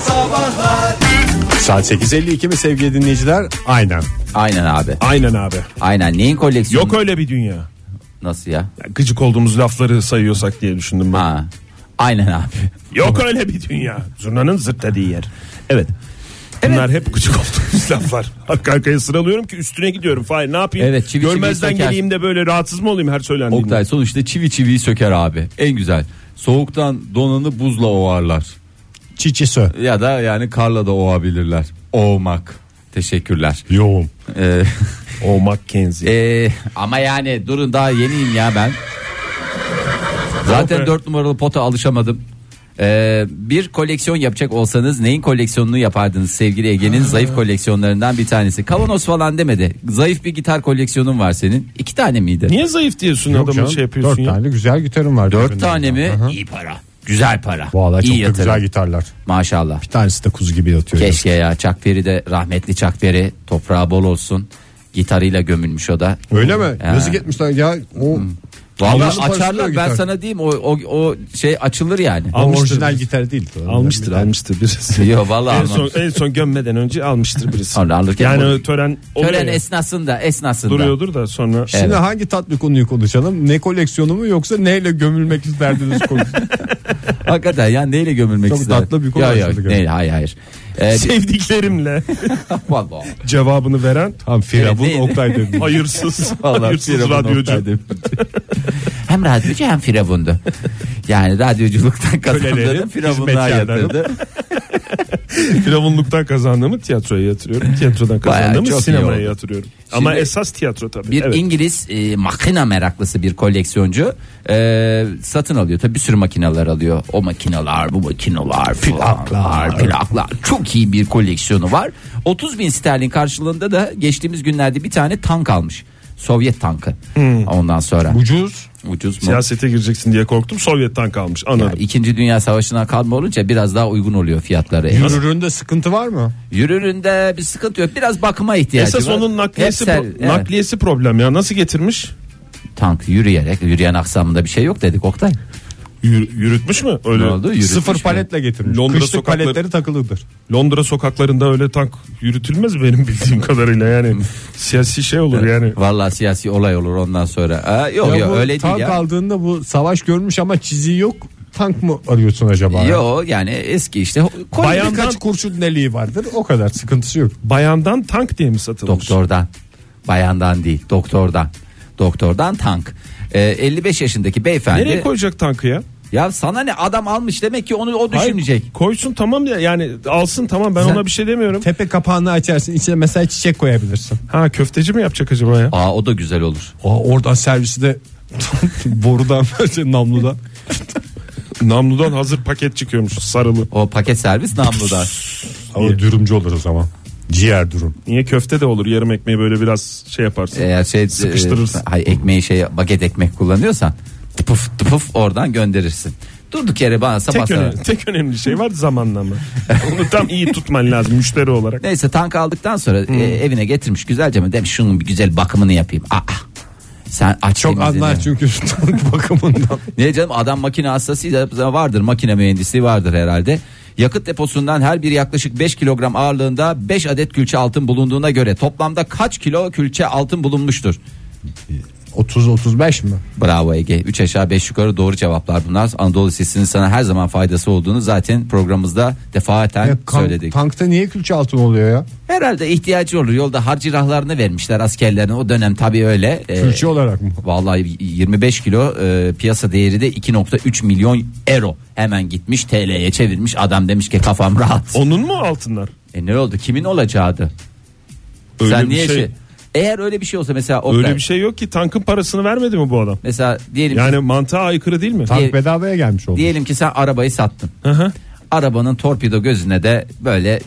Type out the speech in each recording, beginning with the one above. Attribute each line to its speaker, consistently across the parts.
Speaker 1: Sabahlar
Speaker 2: Saat 8.52 mi sevgili dinleyiciler? Aynen.
Speaker 3: Aynen abi.
Speaker 1: Aynen abi
Speaker 3: Aynen. Neyin koleksiyonu?
Speaker 1: Yok öyle bir dünya
Speaker 3: Nasıl ya?
Speaker 1: Gıcık olduğumuz lafları sayıyorsak diye düşündüm ben
Speaker 3: Ha. Aynen abi.
Speaker 1: Yok öyle bir dünya Zurnanın zırt dediği yer Evet Bunlar hep gıcık olduğumuz laflar Arka arkaya sıralıyorum ki üstüne gidiyorum Fahir ne yapayım
Speaker 3: Evet, çivi çivi
Speaker 1: Görmezden
Speaker 3: söker.
Speaker 1: geleyim de böyle rahatsız mı olayım her söylendiğinde
Speaker 3: Oktay sonuçta çivi çiviyi söker abi. En güzel. Soğuktan donanı buzla ovarlar.
Speaker 2: Çiçisi.
Speaker 3: Ya da yani karla da ovabilirler. Ovmak. Teşekkürler.
Speaker 2: Yoğun.
Speaker 3: Ee,
Speaker 1: O Mackenzie
Speaker 3: ee, ama yani durun daha yeniyim ya ben. Zaten
Speaker 1: Yok,
Speaker 3: 4 numaralı pota alışamadım. Ee, bir koleksiyon yapacak olsanız neyin koleksiyonunu yapardınız sevgili Ege'nin zayıf koleksiyonlarından bir tanesi. Kavanoz falan demedi. Zayıf bir gitar koleksiyonun var senin. İki tane miydi?
Speaker 1: Niye zayıf diyorsun adamı
Speaker 2: Canım,
Speaker 1: şey yapıyorsun
Speaker 2: Dört
Speaker 1: ya
Speaker 2: tane güzel gitarım var.
Speaker 3: Dört
Speaker 2: Birbirinden.
Speaker 3: tane mi?
Speaker 2: Aha.
Speaker 3: İyi para. Güzel para.
Speaker 2: Vallahi çok
Speaker 3: İyi
Speaker 2: da
Speaker 3: yatırım.
Speaker 2: güzel gitarlar.
Speaker 3: Maşallah.
Speaker 2: Bir tanesi de kuzu gibi yatıyor.
Speaker 3: Keşke ya Çakperi de rahmetli Çakperi toprağı bol olsun. Gitarıyla gömülmüş o da.
Speaker 2: Öyle mi?
Speaker 3: Ha.
Speaker 2: Yazık etmişler ya. O
Speaker 3: Vallahi
Speaker 2: Allah'ın parasıyla
Speaker 3: açarlar ben
Speaker 2: gitar.
Speaker 3: sana diyeyim o, o, o şey açılır yani.
Speaker 1: Al- Almıştır
Speaker 2: orijinal
Speaker 1: biz.
Speaker 2: gitar değil.
Speaker 1: Almıştır
Speaker 2: Gitar.
Speaker 1: almıştır birisi
Speaker 3: Yo vallahi
Speaker 1: en son,
Speaker 3: almamış.
Speaker 1: en son gömmeden önce almıştır birisi
Speaker 3: Sonra alırken
Speaker 1: Yani
Speaker 3: bu-
Speaker 1: tören oluyor
Speaker 3: Tören
Speaker 1: ya.
Speaker 3: esnasında esnasında.
Speaker 1: duruyordur da sonra
Speaker 2: Şimdi
Speaker 3: Evet.
Speaker 2: hangi tatlı konuyu konuşalım? Ne koleksiyonu mu yoksa neyle gömülmek isterdiniz konusu?
Speaker 3: Hakikaten ya neyle gömülmek
Speaker 2: Çok
Speaker 3: ister?
Speaker 2: tatlı bir konu
Speaker 3: Ya, ya,
Speaker 2: açıldı
Speaker 3: neyle, hayır hayır. Ee,
Speaker 1: sevdiklerimle
Speaker 3: vallahi.
Speaker 1: cevabını veren
Speaker 2: Tam Firavun
Speaker 3: Evet, neydi?
Speaker 2: Oktay dedim.
Speaker 1: hayırsız
Speaker 3: Vallahi
Speaker 1: hayırsız
Speaker 3: Firavun
Speaker 1: radyocu.
Speaker 3: Oktay demiş. hem radyocu hem firavundu. Yani radyoculuktan kazandığını
Speaker 1: Kölelerin
Speaker 3: firavunluğa
Speaker 1: hizmetkarları.
Speaker 3: yatırdı.
Speaker 1: Firavunluktan kazandığımı tiyatroya yatırıyorum. Tiyatrodan
Speaker 3: çok
Speaker 1: kazandığımı
Speaker 3: iyi
Speaker 1: sinemaya
Speaker 3: oldu.
Speaker 1: yatırıyorum. Ama
Speaker 3: Şimdi
Speaker 1: esas tiyatro tabii.
Speaker 3: Bir
Speaker 1: evet.
Speaker 3: İngiliz e, makina meraklısı bir koleksiyoncu e, satın alıyor. Tabii bir sürü makineler alıyor. O makineler, bu makineler, plaklar, plaklar. Çok iyi bir koleksiyonu var. 30 bin sterlin karşılığında da geçtiğimiz günlerde bir tane tank almış. Sovyet tankı.
Speaker 1: Hmm.
Speaker 3: Ondan sonra
Speaker 2: Ucuz.
Speaker 3: ucuz mu?
Speaker 1: Siyasete gireceksin diye korktum. Sovyet'ten kalmış.
Speaker 3: Ya,
Speaker 1: Anladım.
Speaker 3: İkinci Dünya Savaşı'na kalma olunca biraz daha uygun oluyor fiyatları.
Speaker 2: Yürüründe sıkıntı var mı?
Speaker 3: Yürüründe bir sıkıntı yok. Biraz bakıma ihtiyacı
Speaker 1: Esas
Speaker 3: var.
Speaker 1: onun nakliyesi,
Speaker 3: Hepsel-
Speaker 1: pro-
Speaker 3: evet.
Speaker 1: nakliyesi problem ya. Nasıl getirmiş?
Speaker 3: tank yürüyerek yürüyen aksamında bir şey yok dedik Oktay.
Speaker 1: Yür- yürütmüş mü? Öyle
Speaker 3: Ne oldu? Yürütmüş
Speaker 2: Sıfır
Speaker 3: mü?
Speaker 2: paletle getirmiş.
Speaker 1: Londra
Speaker 2: Kışlık
Speaker 1: sokakları-
Speaker 2: paletleri takılıdır.
Speaker 1: Londra sokaklarında öyle tank yürütülmez benim bildiğim kadarıyla yani. Siyasi şey olur yani.
Speaker 3: Vallahi siyasi olay olur ondan sonra. Aa, yok
Speaker 2: Ya
Speaker 3: yok
Speaker 2: bu
Speaker 3: öyle değil
Speaker 2: tank
Speaker 3: ya.
Speaker 2: aldığında bu savaş görmüş ama çiziği yok. Tank mı arıyorsun acaba?
Speaker 3: Yok yani eski işte
Speaker 2: Koy
Speaker 1: Bayandan-
Speaker 2: birkaç kurşun deliği vardır. O kadar sıkıntısı yok.
Speaker 1: Bayandan tank diye mi satılmış?
Speaker 3: doktordan. Bayandan değil doktordan. Doktordan tank. Ee, 55 yaşındaki beyefendi.
Speaker 1: Nereye koyacak tankı ya?
Speaker 3: ya sana ne adam almış demek ki onu o
Speaker 1: Hayır,
Speaker 3: düşünecek.
Speaker 1: koysun tamam ya yani alsın tamam ben
Speaker 3: Sen-
Speaker 1: ona bir şey demiyorum.
Speaker 2: Tepe kapağını açarsın. içine mesela çiçek koyabilirsin.
Speaker 1: Ha köfteci mi yapacak acaba ya?
Speaker 3: Aa o da güzel olur.
Speaker 2: Aa, oradan servisi de borudan şey, namludan.
Speaker 1: Namludan hazır paket çıkıyormuş sarılı.
Speaker 3: O paket servis namludan.
Speaker 2: Ama dürümcü olur o zaman. Ciğer durum.
Speaker 1: Niye köfte de olur yarım ekmeği böyle biraz şey yaparsın.
Speaker 3: Eğer şey
Speaker 1: Sıkıştırırsın.
Speaker 3: e, hayır, ekmeği şey baget ekmek kullanıyorsan tıpıf tıpıf oradan gönderirsin. Durduk yere bana sabah
Speaker 1: tek,
Speaker 3: sabah-
Speaker 1: önemli, tek önemli şey var zamanlama. Onu tam iyi tutman lazım müşteri olarak.
Speaker 3: Neyse tank aldıktan sonra
Speaker 2: Hmm.
Speaker 3: e, evine getirmiş güzelce mi demiş şunun bir güzel bakımını yapayım. Aa, sen aç
Speaker 2: Çok
Speaker 3: temizliğini.
Speaker 2: anlar çünkü tank bakımından.
Speaker 3: Ne canım adam makine hastasıysa vardır makine mühendisliği vardır herhalde. Yakıt deposundan her biri yaklaşık 5 kilogram ağırlığında 5 adet külçe altın bulunduğuna göre toplamda kaç kilo külçe altın bulunmuştur?
Speaker 2: 30-35 mi?
Speaker 3: Bravo Ege. 3 aşağı 5 yukarı doğru cevaplar bunlar. Anadolu Lisesi'nin sana her zaman faydası olduğunu zaten programımızda defaten
Speaker 2: Ya kan-
Speaker 3: söyledik.
Speaker 2: Tankta niye külçe altın oluyor ya?
Speaker 3: Herhalde ihtiyacı olur. Yolda harcırahlarını vermişler askerlerine. O dönem tabii öyle. Ee,
Speaker 2: Külçe olarak mı?
Speaker 3: Vallahi 25 kilo e, piyasa değeri de 2.3 milyon euro. Hemen gitmiş TL'ye çevirmiş. Adam demiş ki kafam rahat.
Speaker 1: Onun mu altınlar?
Speaker 3: E ne oldu? Kimin olacaktı?
Speaker 1: Öyle
Speaker 3: Sen
Speaker 1: bir
Speaker 3: niye
Speaker 1: şey-
Speaker 3: şey... Eğer öyle bir şey olsa mesela Oktay,
Speaker 1: Öyle bir şey yok ki tankın parasını vermedi mi bu adam?
Speaker 3: mesela diyelim
Speaker 1: Yani mantığa aykırı değil mi?
Speaker 2: Tank
Speaker 3: Diye-
Speaker 2: bedavaya gelmiş oldu.
Speaker 3: diyelim ki sen arabayı sattın.
Speaker 1: hı.
Speaker 3: Arabanın torpido gözüne de böyle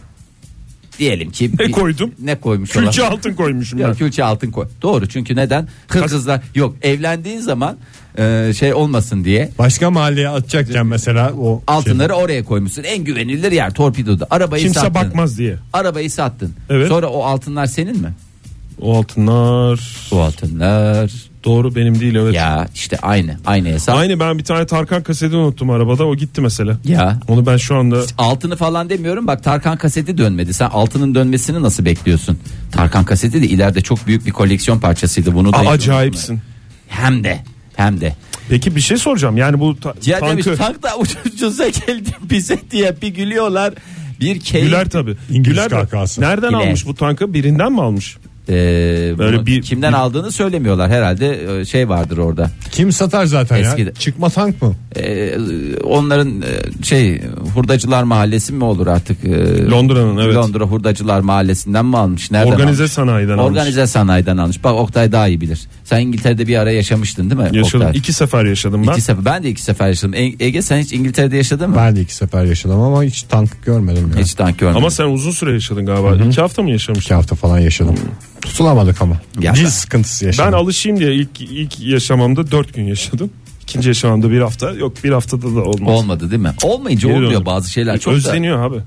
Speaker 3: diyelim ki
Speaker 1: Ne E, koydum?
Speaker 3: Ne koymuş
Speaker 1: Külçe
Speaker 3: olan?
Speaker 1: altın koymuşum
Speaker 3: Ya
Speaker 1: ben.
Speaker 3: külçe altın koy. Doğru çünkü neden? Hırsızlar yok evlendiğin zaman e, şey olmasın diye
Speaker 2: Başka mahalleye atacakken mesela o şey-
Speaker 3: altınları oraya koymuşsun. En güvenilir yer torpidoda. Arabayı
Speaker 1: Şey Kimse
Speaker 3: sattın.
Speaker 1: bakmaz diye.
Speaker 3: Arabayı sattın.
Speaker 1: Evet.
Speaker 3: Sonra o altınlar senin mi?
Speaker 1: O altınlar
Speaker 3: O altınlar
Speaker 1: Doğru benim değil evet.
Speaker 3: Ya işte aynı aynı hesap.
Speaker 1: Aynı ben bir tane Tarkan kaseti unuttum arabada o gitti mesela.
Speaker 3: Ya.
Speaker 1: Onu ben şu anda
Speaker 3: Altını falan demiyorum bak Tarkan kaseti dönmedi. Sen altının dönmesini nasıl bekliyorsun? Tarkan kaseti de ileride çok büyük bir koleksiyon parçasıydı. Bunu da
Speaker 1: Aa, acayipsin.
Speaker 3: Hem de hem de.
Speaker 1: Peki bir şey soracağım yani bu ta-
Speaker 3: Ya
Speaker 1: tankı
Speaker 3: demiş tank da ucuza geldi bize diye bir gülüyorlar. Bir keyif.
Speaker 1: Güler tabi.
Speaker 2: İngiliz
Speaker 1: Güler de-
Speaker 2: kahkahası.
Speaker 1: Nereden
Speaker 3: Güler.
Speaker 1: almış bu tankı? Birinden mi almış?
Speaker 3: Ee,
Speaker 1: Böyle
Speaker 3: bunu
Speaker 1: bir-
Speaker 3: kimden aldığını söylemiyorlar herhalde e, şey vardır orada.
Speaker 2: Kim satar zaten
Speaker 3: Eskide-
Speaker 2: ya? Çıkma tank mı?
Speaker 3: Ee, onların e, şey hurdacılar mahallesi mi olur artık? Ee,
Speaker 1: Londra'nın, evet.
Speaker 3: Londra hurdacılar mahallesinden mi almış? Nereden
Speaker 1: Organize
Speaker 3: almış?
Speaker 1: sanayiden almış.
Speaker 3: Organize sanayiden almış. Bak Oktay daha iyi bilir. Sen İngiltere'de bir ara yaşamıştın değil mi?
Speaker 1: Yaşadım.
Speaker 3: Oktay?
Speaker 1: iki sefer yaşadım ben.
Speaker 3: İki sefer. Ben de iki sefer yaşadım. E- Ege sen hiç İngiltere'de yaşadın mı?
Speaker 2: Ben de iki sefer yaşadım ama hiç tank görmedim ya.
Speaker 3: Hiç tank görmedim.
Speaker 1: Ama sen uzun süre yaşadın galiba. İki hafta mı yaşamıştın?
Speaker 2: İki hafta falan yaşadım. Tutulamadık ama.
Speaker 3: Ya ben-
Speaker 2: Dil sıkıntısı
Speaker 1: Ben
Speaker 2: yaşadım.
Speaker 1: alışayım diye ilk ilk yaşamamda dört gün yaşadım. İkinci yaşamamda bir hafta. Yok bir haftada da olmaz.
Speaker 3: Olmadı değil mi? Olmayınca
Speaker 1: Geri
Speaker 3: olmuyor
Speaker 1: döndüm. E,
Speaker 3: bazı şeyler. Çok da-
Speaker 1: Özleniyor abi.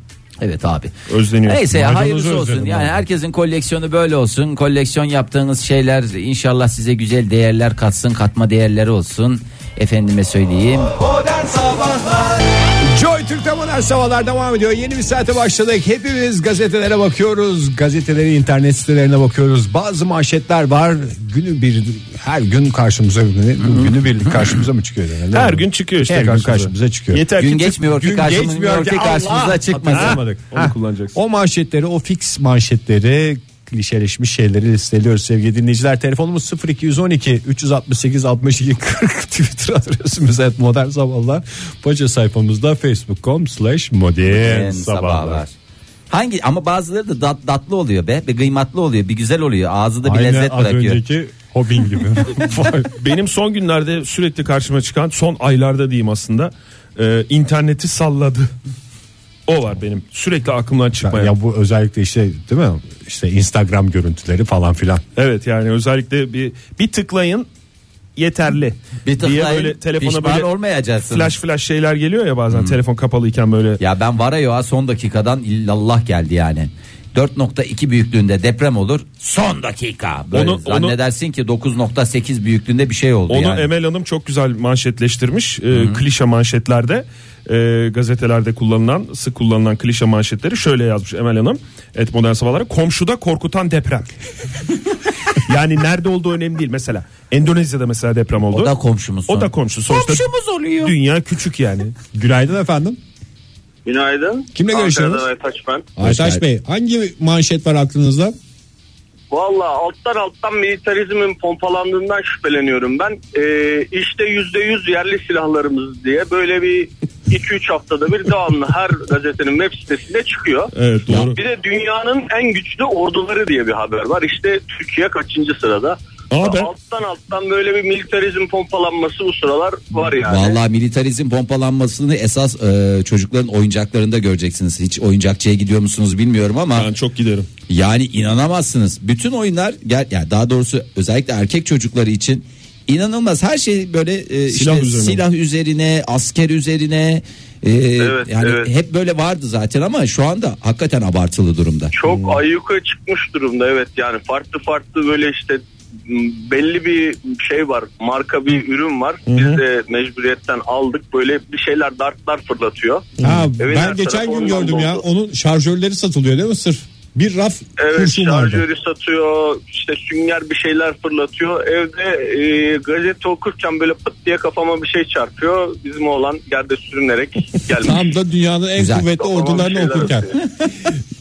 Speaker 3: Evet abi.
Speaker 1: Özleniyor.
Speaker 3: Neyse ya,
Speaker 1: Maydanozu
Speaker 3: hayırlısı olsun.
Speaker 1: özledim
Speaker 3: Yani
Speaker 1: abi.
Speaker 3: herkesin koleksiyonu böyle olsun. Koleksiyon yaptığınız şeyler inşallah size güzel değerler katsın. Katma değerleri olsun. Efendime söyleyeyim.
Speaker 2: Joy Türk'te modern sabahlar devam ediyor. Yeni bir saate başladık. Hepimiz gazetelere bakıyoruz. Gazeteleri internet sitelerine bakıyoruz. Bazı manşetler var. Günü bir her gün karşımıza günü birlik karşımıza mı çıkıyor? yani?
Speaker 1: Her gün çıkıyor işte
Speaker 2: Her gün
Speaker 1: karşımıza.
Speaker 2: karşımıza çıkıyor.
Speaker 1: Yeter
Speaker 3: Gün
Speaker 1: ki
Speaker 3: geçmiyor ki
Speaker 2: Gün
Speaker 3: karşımıza,
Speaker 2: geçmiyor ki
Speaker 3: ki karşımıza
Speaker 2: Allah!
Speaker 3: çıkmasın.
Speaker 2: Hatırlamadık.
Speaker 1: Onu
Speaker 2: Heh.
Speaker 1: kullanacaksın.
Speaker 2: O manşetleri o fix manşetleri klişeleşmiş şeyleri listeliyoruz sevgili dinleyiciler. Telefonumuz 0212 368 62 40 Twitter adresimiz et modern sabahlar. Paça sayfamızda facebook.com slash modern
Speaker 3: En
Speaker 2: sabahlar.
Speaker 3: Hangi ama bazıları da dat, datlı oluyor be ve kıymatlı oluyor bir güzel oluyor ağzı da bir
Speaker 2: Aynı
Speaker 3: lezzet
Speaker 2: az
Speaker 3: bırakıyor.
Speaker 2: önceki hobin gibi. Vay.
Speaker 1: Benim son günlerde sürekli karşıma çıkan son aylarda diyeyim aslında e, interneti salladı. O var benim sürekli aklımdan çıkmayan.
Speaker 2: ya bu özellikle işte değil mi? İşte Instagram görüntüleri falan filan.
Speaker 1: Evet yani özellikle bir bir tıklayın yeterli.
Speaker 3: Bir
Speaker 1: diye
Speaker 3: tıklayın,
Speaker 1: böyle telefona
Speaker 3: pişman
Speaker 1: böyle
Speaker 3: olmayacaksınız.
Speaker 1: flash flash şeyler geliyor ya bazen telefon kapalıyken böyle
Speaker 3: Ya ben Varayo'a son dakikadan illallah geldi yani. 4.2 büyüklüğünde deprem olur. Son dakika. Böyle
Speaker 1: Onu- onu-
Speaker 3: zannedersin ki 9.8 büyüklüğünde bir şey oldu
Speaker 1: Onu
Speaker 3: yani.
Speaker 1: Emel Hanım çok güzel manşetleştirmiş. Ee, klişe manşetlerde e, gazetelerde kullanılan sık kullanılan klişe manşetleri şöyle yazmış Emel Hanım. Evet modern sabahlara komşuda korkutan deprem. yani nerede olduğu önemli değil mesela. Endonezya'da mesela deprem oldu.
Speaker 3: O da komşumuz.
Speaker 1: O da komşu. Sonuçta
Speaker 3: Komşumuz oluyor.
Speaker 1: Dünya küçük yani.
Speaker 2: Günaydın efendim.
Speaker 4: Günaydın.
Speaker 2: Kimle görüşüyoruz?
Speaker 4: Ankara'dan Aytaç ben.
Speaker 2: Aytaş Bey hangi manşet var aklınızda?
Speaker 4: Valla alttan alttan militarizmin pompalandığından şüpheleniyorum ben. Ee, işte yüzde yüz yerli silahlarımız diye böyle bir 2-3 haftada bir devamlı her gazetenin web sitesinde çıkıyor.
Speaker 1: Evet doğru.
Speaker 4: Bir de dünyanın en güçlü orduları diye bir haber var. İşte Türkiye kaçıncı sırada?
Speaker 1: Aa, ben-
Speaker 4: Alttan alttan böyle bir militarizm pompalanması bu sıralar var yani.
Speaker 3: Vallahi militarizm pompalanmasını esas e, çocukların oyuncaklarında göreceksiniz. Hiç oyuncakçıya gidiyor musunuz bilmiyorum ama
Speaker 1: Ben çok giderim.
Speaker 3: yani inanamazsınız. Bütün oyunlar gel yani daha doğrusu özellikle erkek çocukları için inanılmaz. Her şey böyle e,
Speaker 1: Silah
Speaker 3: işte
Speaker 1: üzerine.
Speaker 3: silah üzerine, asker üzerine e, yani
Speaker 4: evet.
Speaker 3: hep böyle vardı zaten ama şu anda hakikaten abartılı durumda.
Speaker 4: Çok
Speaker 2: Hmm.
Speaker 4: ayyuka çıkmış durumda evet yani farklı farklı böyle işte m, belli bir şey var marka bir ürün var biz de mecburiyetten aldık böyle bir şeyler dartlar fırlatıyor.
Speaker 2: Ha,
Speaker 1: Hmm.
Speaker 4: Evet,
Speaker 2: ben
Speaker 4: her taraf
Speaker 2: geçen gün
Speaker 4: orman
Speaker 2: gördüm ya.
Speaker 4: doldu.
Speaker 2: Onun şarjörleri satılıyor değil mi sırf? Bir raf
Speaker 4: Evet
Speaker 2: kurşun vardı.
Speaker 4: şarjörü satıyor işte sünger bir şeyler fırlatıyor evde e, gazete okurken böyle pıt diye kafama bir şey çarpıyor bizim oğlan yerde sürünerek gelmiş.
Speaker 2: Tam da dünyanın en
Speaker 3: Güzel.
Speaker 2: kuvvetli
Speaker 4: Kafama bir
Speaker 2: ordularını
Speaker 4: şeyler
Speaker 2: okurken.
Speaker 4: atıyor.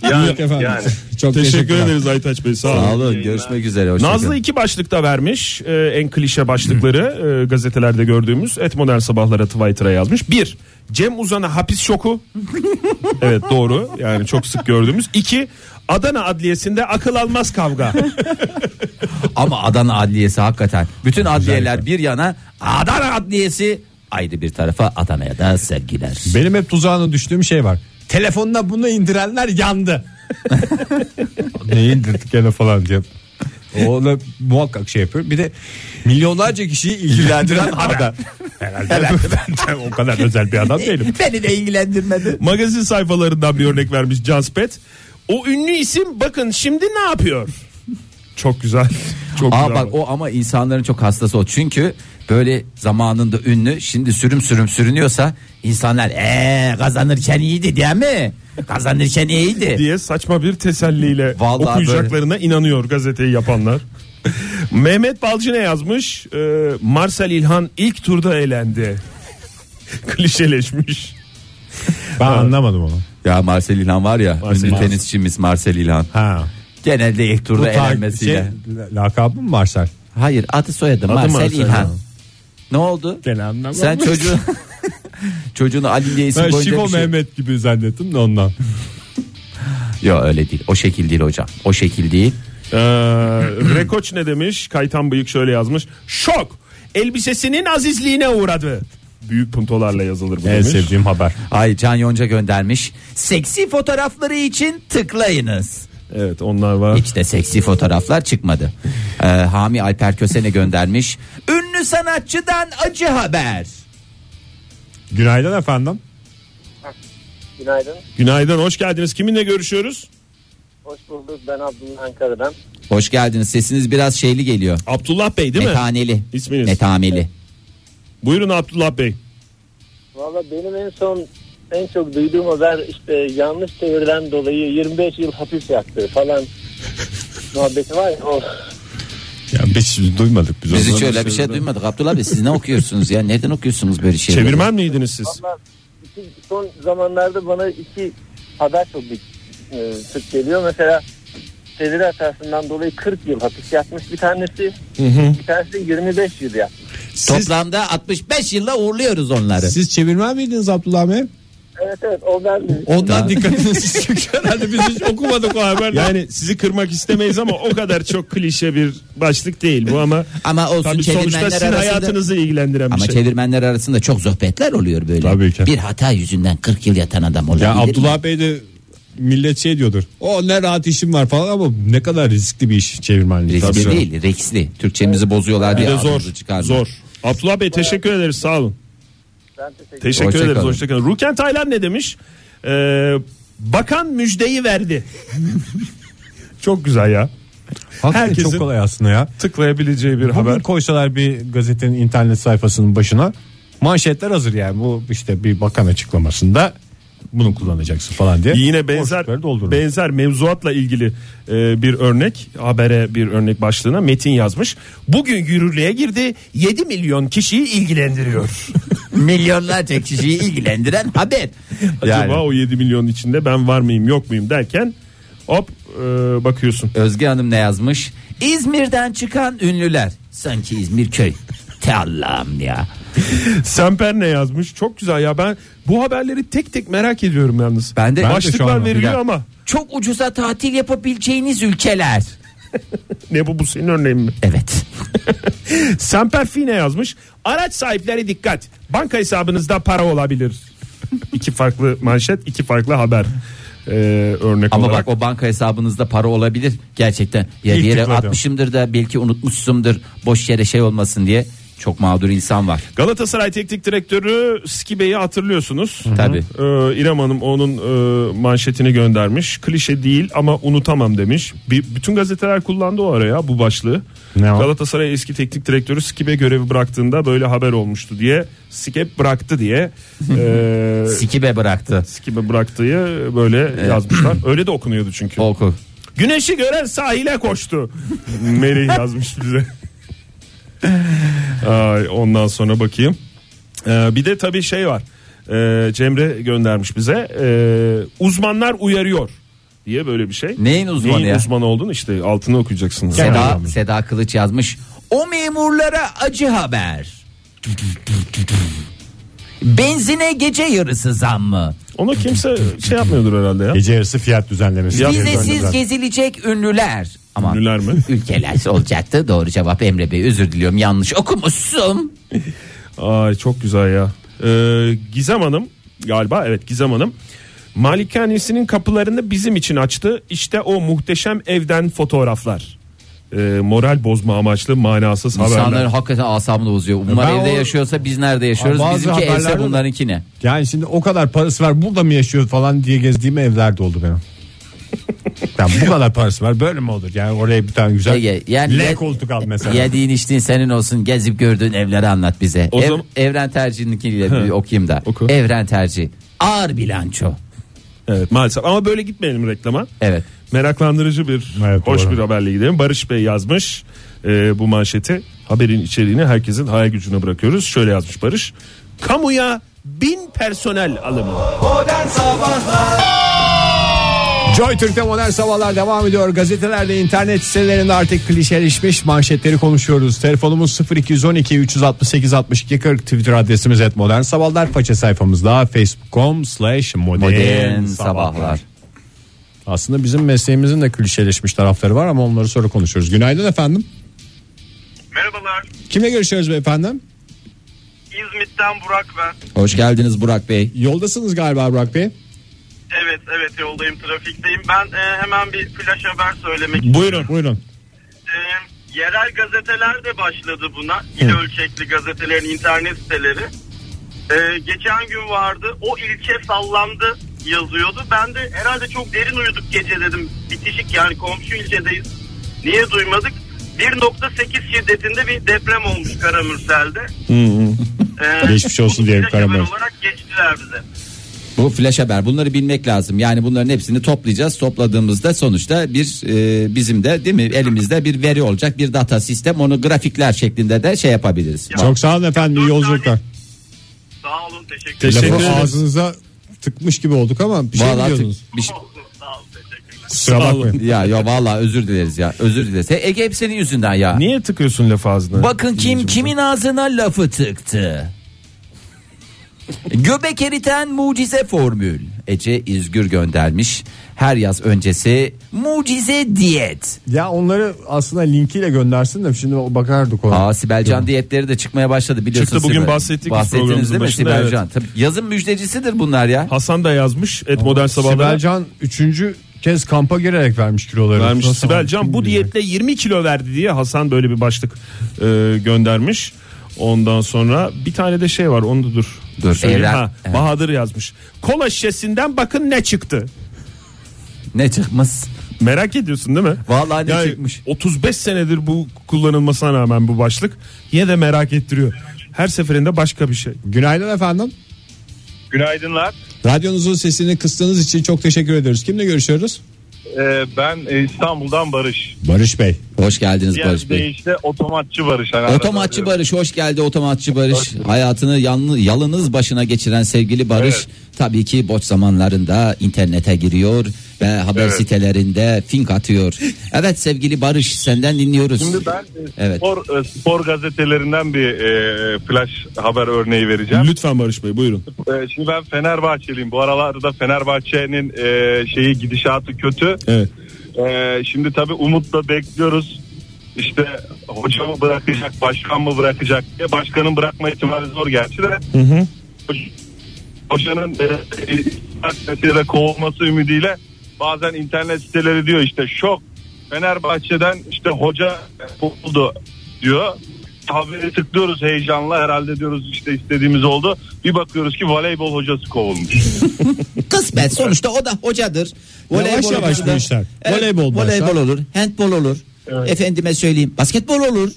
Speaker 2: Yani,
Speaker 4: yani,
Speaker 2: efendim.
Speaker 4: yani.
Speaker 2: Çok
Speaker 1: Teşekkür
Speaker 2: teşekkürler.
Speaker 1: ederiz Aytaç Bey sağ olun.
Speaker 3: Sağ olun görüşmek üzere. hoşça kalın.
Speaker 1: Nazlı iki başlıkta vermiş e, en klişe başlıkları e, gazetelerde gördüğümüz et modern sabahlara Twitter'a yazmış. Bir Cem Uzan'a hapis şoku. evet doğru yani çok sık gördüğümüz. İki Adana Adliyesi'nde akıl almaz kavga.
Speaker 3: Ama Adana Adliyesi hakikaten bütün adliyeler bir yana Adana Adliyesi ayrı bir tarafa Adana'ya da sevgiler.
Speaker 2: Benim hep tuzağına düştüğüm şey var. Telefonuna bunu indirenler yandı. Neyi indirdik gene falan diye. Onu muhakkak şey yapıyor. Bir de milyonlarca kişiyi ilgilendiren haber. Herhalde, ben de o kadar özel bir adam değilim.
Speaker 3: Beni de ilgilendirmedi.
Speaker 1: Magazin sayfalarından bir örnek vermiş Canspet. O ünlü isim bakın şimdi ne yapıyor? Çok güzel. Çok
Speaker 3: Aa
Speaker 1: güzel.
Speaker 3: bak o ama insanların çok hastası o. Çünkü böyle zamanında ünlü şimdi sürüm sürüm sürünüyorsa insanlar ee kazanırken iyiydi değil mi? Kazanırken iyiydi.
Speaker 1: diye saçma bir teselliyle
Speaker 3: Vallahi
Speaker 1: okuyacaklarına inanıyor gazeteyi yapanlar. Mehmet Balcı ne yazmış? Ee, Marcel İlhan ilk turda elendi. Klişeleşmiş.
Speaker 2: Ben anlamadım onu.
Speaker 3: Ya Marcel İlhan var ya
Speaker 1: Marcel
Speaker 3: ünlü
Speaker 1: İlhan.
Speaker 3: tenisçimiz Marcel İlhan.
Speaker 2: Ha.
Speaker 3: Genelde ilk turda
Speaker 2: ta-
Speaker 3: elenmesiyle.
Speaker 2: şey, lakabı mı Marcel?
Speaker 3: Hayır adı soyadı Marcel,
Speaker 1: Marcel
Speaker 3: İlhan.
Speaker 1: İlhan.
Speaker 3: Ne oldu?
Speaker 2: Gene anlamam.
Speaker 3: Sen çocuğu çocuğunu Ali diye isim
Speaker 2: Ben
Speaker 3: koyunca
Speaker 2: Şivo
Speaker 3: bir şey-
Speaker 2: Mehmet gibi zannettim de ondan.
Speaker 3: Yok öyle değil. O şekil değil hocam. O şekil değil.
Speaker 1: Ee, Rekoç ne demiş? Kaytan Bıyık şöyle yazmış. Şok! Elbisesinin azizliğine uğradı. Büyük puntolarla yazılır bu
Speaker 2: En
Speaker 1: demiş.
Speaker 2: sevdiğim haber.
Speaker 3: Ay Can Yonca göndermiş. Seksi fotoğrafları için tıklayınız.
Speaker 1: Evet onlar var.
Speaker 3: Hiç de seksi fotoğraflar çıkmadı. Ee, Hami Alper Kösene göndermiş. Ünlü sanatçıdan acı haber.
Speaker 2: Günaydın efendim.
Speaker 5: Günaydın.
Speaker 1: Günaydın hoş geldiniz. Kiminle görüşüyoruz?
Speaker 5: Hoş bulduk. Ben Abdullah Ankara'dan.
Speaker 3: Hoş geldiniz. Sesiniz biraz şeyli geliyor.
Speaker 1: Abdullah Bey değil mi?
Speaker 3: Metaneli.
Speaker 1: İsminiz?
Speaker 3: Metameli.
Speaker 1: Buyurun Abdullah Bey.
Speaker 5: Valla benim en son en çok duyduğum haber işte yanlış çevirden dolayı 25 yıl hapis yattı falan muhabbeti var ya. O
Speaker 2: Ya biz şimdi duymadık biz.
Speaker 3: Biz
Speaker 2: onu.
Speaker 3: hiç öyle bir şey duymadık. Abdullah Bey siz ne okuyorsunuz ya? Neden okuyorsunuz böyle şeyleri?
Speaker 1: Çevirmen miydiniz siz?
Speaker 5: Valla iki- son zamanlarda bana iki haber çok bir, e, sık geliyor. Mesela çeviri hatasından dolayı 40 yıl hapis yatmış bir tanesi. Bir tanesi de 25 yıl yatmış.
Speaker 2: Siz,
Speaker 3: Toplamda 65 yılla uğurluyoruz onları.
Speaker 2: siz çevirmen miydiniz Abdullah Bey?
Speaker 5: Evet evet o ben
Speaker 2: Ondan
Speaker 3: Ya.
Speaker 2: dikkatinizi çekiyor herhalde biz hiç okumadık o haberleri.
Speaker 1: Yani sizi kırmak istemeyiz ama o kadar çok klişe bir başlık değil bu ama
Speaker 3: Ama olsun
Speaker 1: tabii sonuçta
Speaker 3: çevirmenler
Speaker 1: sizin
Speaker 3: arasında-
Speaker 1: hayatınızı ilgilendiren bir
Speaker 3: Ama
Speaker 1: şey.
Speaker 3: çevirmenler arasında çok sohbetler oluyor böyle.
Speaker 2: Tabii ki.
Speaker 3: Bir hata yüzünden 40 yıl yatan adam olabilir.
Speaker 2: Ya
Speaker 3: mi?
Speaker 2: Abdullah Bey de millet şey diyordur. O ne rahat işim var falan ama ne kadar riskli bir iş çevirmenlik.
Speaker 3: Riskli
Speaker 2: Tabii.
Speaker 3: değil, reksli. Türkçemizi bozuyorlar
Speaker 1: bir
Speaker 3: diye
Speaker 1: de zor.
Speaker 3: ağzımızı çıkarmıyor.
Speaker 1: Zor. Abdullah Bey teşekkür ederiz sağ olun.
Speaker 5: ben teşekkür
Speaker 1: Teşekkür
Speaker 3: Hoşça
Speaker 1: ederiz
Speaker 3: kalın.
Speaker 1: hoşçakalın. Ruken Taylan ne demiş? Ee, bakan müjdeyi verdi. çok güzel ya.
Speaker 2: Hakikaten
Speaker 1: Herkesin-
Speaker 2: çok kolay aslında ya.
Speaker 1: Tıklayabileceği bir
Speaker 2: Bugün
Speaker 1: haber.
Speaker 2: koysalar bir gazetenin internet sayfasının başına manşetler hazır yani. Bu işte bir bakan açıklamasında bunu kullanacaksın falan diye.
Speaker 1: Yine benzer
Speaker 2: Boşlukları doldurun.
Speaker 1: benzer mevzuatla ilgili e, bir örnek habere bir örnek başlığına Metin yazmış. Bugün yürürlüğe girdi 7 milyon kişiyi ilgilendiriyor.
Speaker 3: Milyonlarca kişiyi ilgilendiren haber.
Speaker 1: Acaba o 7 milyonun içinde ben var mıyım yok muyum derken hop e, bakıyorsun.
Speaker 3: Özge Hanım ne yazmış? İzmir'den çıkan ünlüler. Sanki İzmir köy. Te Allah'ım ya.
Speaker 1: Semper ne yazmış? Çok güzel ya ben bu haberleri tek tek merak ediyorum yalnız.
Speaker 3: Ben de- Ben de
Speaker 2: şu
Speaker 1: Başlıklar
Speaker 2: an-
Speaker 1: veriliyor
Speaker 3: Bir
Speaker 1: ama
Speaker 3: Çok ucuza tatil yapabileceğiniz ülkeler.
Speaker 1: ne bu bu senin örneğin mi?
Speaker 3: Evet.
Speaker 1: Semper Fi ne yazmış? Araç sahipleri dikkat. Banka hesabınızda para olabilir. iki farklı manşet, iki farklı haber. Ee, örnek
Speaker 3: Ama
Speaker 1: olarak.
Speaker 3: bak o banka hesabınızda para olabilir gerçekten. Ya
Speaker 1: İlk
Speaker 3: bir yere
Speaker 1: tıkladım.
Speaker 3: atmışımdır da belki unutmuşsumdur. Boş yere şey olmasın diye. Çok mağdur insan var.
Speaker 1: Galatasaray Teknik Direktörü Skibe'yi hatırlıyorsunuz.
Speaker 3: Tabii.
Speaker 1: Ee, İrem Hanım onun e, manşetini göndermiş. Klişe değil ama unutamam demiş. Bir, bütün gazeteler kullandı o araya bu başlığı.
Speaker 2: Ne o?
Speaker 1: Galatasaray eski teknik direktörü Skibe görevi bıraktığında böyle haber olmuştu diye. Skibe bıraktı diye. e,
Speaker 3: Sikibe bıraktı.
Speaker 1: Skibe bıraktığı böyle yazmışlar. Öyle de okunuyordu çünkü.
Speaker 3: Oku.
Speaker 1: Güneşi gören sahile koştu. Melih yazmış bize. Ay, ondan sonra bakayım. Ee, bir de tabii şey var. Ee, Cemre göndermiş bize. Ee, uzmanlar uyarıyor diye böyle bir şey.
Speaker 3: Neyin uzmanı
Speaker 1: Neyin
Speaker 3: ya?
Speaker 1: uzmanı olduğunu işte altını okuyacaksın.
Speaker 3: Seda, Seda Kılıç yazmış. O memurlara acı haber. Benzine gece yarısı zam mı?
Speaker 1: Onu kimse şey yapmıyordur herhalde ya.
Speaker 2: Gece yarısı fiyat düzenlemesi.
Speaker 1: Fiyat
Speaker 2: Gece yarısı
Speaker 3: Vizesiz
Speaker 2: düzenlemesi.
Speaker 3: gezilecek ünlüler. Aman.
Speaker 1: Ünlüler mi?
Speaker 3: Ülkeler olacaktı. Doğru cevap Emre Bey. Özür diliyorum. Yanlış okumuşsun.
Speaker 1: Ay çok güzel ya. Ee, Gizem Hanım galiba evet Gizem Hanım. Malikanesinin kapılarını bizim için açtı. İşte o muhteşem evden fotoğraflar. Ee, moral bozma amaçlı manasız
Speaker 3: İnsanların
Speaker 1: haberler.
Speaker 3: hakikaten asabını bozuyor. Bunlar
Speaker 2: Ben
Speaker 3: evde
Speaker 2: o-
Speaker 3: yaşıyorsa biz nerede yaşıyoruz?
Speaker 2: Bazı
Speaker 3: Bizimki
Speaker 2: haberlerde
Speaker 3: evse
Speaker 2: de-
Speaker 3: bunlarınki ne?
Speaker 2: Yani şimdi o kadar parası var burada mı yaşıyor falan diye gezdiğim evler de oldu benim. Ya bu kadar parası var böyle mi olur? Yani oraya bir tane güzel
Speaker 3: Ege, yani
Speaker 2: L
Speaker 3: ye-
Speaker 2: koltuk al mesela.
Speaker 3: Yediğin içtiğin senin olsun gezip gördüğün evleri anlat bize.
Speaker 1: O
Speaker 3: Ev-
Speaker 1: zaman-
Speaker 3: Evren tercihinkiyle bir okuyayım da.
Speaker 1: Oku.
Speaker 3: Evren tercih. Ağır bilanço.
Speaker 1: Evet maalesef ama böyle gitmeyelim reklama.
Speaker 3: Evet.
Speaker 1: Meraklandırıcı bir
Speaker 2: Evet,
Speaker 1: hoş
Speaker 2: doğru.
Speaker 1: bir haberle gidelim. Barış Bey yazmış e, bu manşeti. Haberin içeriğini herkesin hayal gücüne bırakıyoruz. Şöyle yazmış Barış. Kamuya bin personel alımı.
Speaker 2: Joy Türk'te modern sabahlar devam ediyor. Gazetelerde, internet sitelerinde artık klişeleşmiş manşetleri konuşuyoruz. Telefonumuz 0212 368 62 40 Twitter adresimiz et modern sabahlar. Faça sayfamızda facebook.com slash modern
Speaker 3: Modern
Speaker 2: sabahlar.
Speaker 3: sabahlar.
Speaker 2: Aslında bizim mesleğimizin de klişeleşmiş tarafları var ama onları sonra konuşuruz. Günaydın efendim.
Speaker 4: Merhabalar.
Speaker 2: Kimle görüşüyoruz beyefendi?
Speaker 4: İzmit'ten Burak ben.
Speaker 3: Hoş geldiniz Burak Bey.
Speaker 2: Yoldasınız galiba Burak Bey.
Speaker 4: Evet evet yoldayım trafikteyim. Ben e, hemen bir flash haber söylemek
Speaker 2: Buyurun. Buyurun.
Speaker 4: E, yerel gazeteler de başladı buna. İl ölçekli gazetelerin internet siteleri. E, geçen gün vardı. O ilçe sallandı yazıyordu. Ben de herhalde çok derin uyuduk gece dedim. Bitişik yani komşu ilçedeyiz. Niye duymadık? 1.8 şiddetinde bir deprem olmuş Karamürsel'de. E,
Speaker 2: Geçmiş olsun
Speaker 4: bunu
Speaker 2: diyelim
Speaker 4: flash haber
Speaker 2: Karamürsel.
Speaker 4: olarak geçtiler bize.
Speaker 3: Bu flash haber bunları bilmek lazım. Yani bunların hepsini toplayacağız. Topladığımızda sonuçta bir e, bizim de değil mi elimizde bir veri olacak bir data sistem. Onu grafikler şeklinde de şey yapabiliriz.
Speaker 2: Çok sağ olun efendim. İyi yolculuklar.
Speaker 4: Sağ olun teşekkür
Speaker 1: Teşekkür
Speaker 2: Lafı
Speaker 1: ederim.
Speaker 2: ağzınıza tıkmış gibi olduk ama bir şey
Speaker 3: Vallahi
Speaker 2: diyordunuz.
Speaker 3: bir şey-
Speaker 4: Sağ olun teşekkürler.
Speaker 2: Kusura
Speaker 1: Sağ olun.
Speaker 2: bakmayın.
Speaker 3: ya ya vallahi özür dileriz ya. Özür dileriz. He, Ege hep senin yüzünden ya.
Speaker 1: Niye tıkıyorsun laf ağzına?
Speaker 3: Bakın kim kimin ağzına lafı tıktı. Göbek eriten mucize formül. Ece İzgür göndermiş. Her yaz öncesi mucize diyet.
Speaker 2: Ya onları aslında linkiyle göndersin de şimdi o bakardık ona.
Speaker 3: Aa Sibel Can diyetleri de çıkmaya başladı biliyorsunuz.
Speaker 1: Çıktı, bugün
Speaker 3: Sibel.
Speaker 1: bahsettik biz
Speaker 3: Bahsettiniz
Speaker 1: programımızın
Speaker 3: değil mi
Speaker 1: başında,
Speaker 3: Sibel
Speaker 1: evet.
Speaker 3: Can? Tabii yazın müjdecisidir bunlar ya.
Speaker 1: Hasan da yazmış et modern
Speaker 2: Sibel
Speaker 1: sabahlara.
Speaker 2: Can 3. kez kampa girerek vermiş kiloları.
Speaker 1: vermiş.
Speaker 2: Nasıl
Speaker 1: Sibel
Speaker 2: almış
Speaker 1: Can bu
Speaker 2: bilmiyorum.
Speaker 1: diyetle 20 kilo verdi diye Hasan böyle bir başlık e, göndermiş. Ondan sonra bir tane de şey var onu da dur.
Speaker 3: Dur,
Speaker 1: Söyleyeyim.
Speaker 3: Evren-
Speaker 1: Ha,
Speaker 3: evet.
Speaker 1: Bahadır yazmış. Kola şişesinden bakın ne çıktı.
Speaker 3: Ne çıkmış?
Speaker 1: Merak ediyorsun değil mi?
Speaker 3: Vallahi ne
Speaker 1: Yani
Speaker 3: çıkmış?
Speaker 1: 35 senedir bu kullanılmasına rağmen bu başlık yine de merak ettiriyor. Her seferinde başka bir şey.
Speaker 2: Günaydın efendim.
Speaker 6: Günaydınlar.
Speaker 2: Radyonuzun sesini kıstığınız için çok teşekkür ediyoruz. Kimle görüşüyoruz?
Speaker 6: Ee, ben e, İstanbul'dan Barış.
Speaker 2: Barış Bey.
Speaker 3: Hoş geldiniz
Speaker 6: Diğer
Speaker 3: Barış Bey.
Speaker 6: deyişle otomatçı Barış. Hani
Speaker 3: Otomatçı
Speaker 6: arada-
Speaker 3: Barış hoş geldi otomatçı Barış. Hayatını yalnız, yalınız başına geçiren sevgili Barış
Speaker 6: Evet.
Speaker 3: tabii ki boş zamanlarında internete giriyor ve haber
Speaker 6: Evet.
Speaker 3: sitelerinde fink atıyor. Evet sevgili Barış senden dinliyoruz.
Speaker 6: Şimdi ben e,
Speaker 3: Evet.
Speaker 6: spor, e, spor gazetelerinden bir e, flash haber örneği vereceğim.
Speaker 1: Lütfen Barış Bey buyurun.
Speaker 6: Ee, Şimdi ben Fenerbahçeliyim. Bu aralarda Fenerbahçe'nin e, şeyi gidişatı kötü.
Speaker 1: Evet.
Speaker 6: Ee, şimdi tabii umutla bekliyoruz. İşte hoca mı bırakacak, başkan mı bırakacak diye. Başkanın bırakma ihtimali zor gerçi de. Hoca- Hocanın e, e, de kovulması ümidiyle bazen internet siteleri diyor işte şok. Fenerbahçe'den işte hoca kovuldu diyor. Haberi tıklıyoruz heyecanla herhalde diyoruz işte istediğimiz oldu. Bir bakıyoruz ki voleybol hocası kovulmuş.
Speaker 3: Kısmet sonuçta o da hocadır.
Speaker 2: Yavaş yavaş
Speaker 3: olur
Speaker 2: bu
Speaker 3: da-
Speaker 2: işler.
Speaker 3: Evet,
Speaker 2: Voleybol başlar.
Speaker 3: voleybol olur, handbol olur. Efendime söyleyeyim basketbol olur.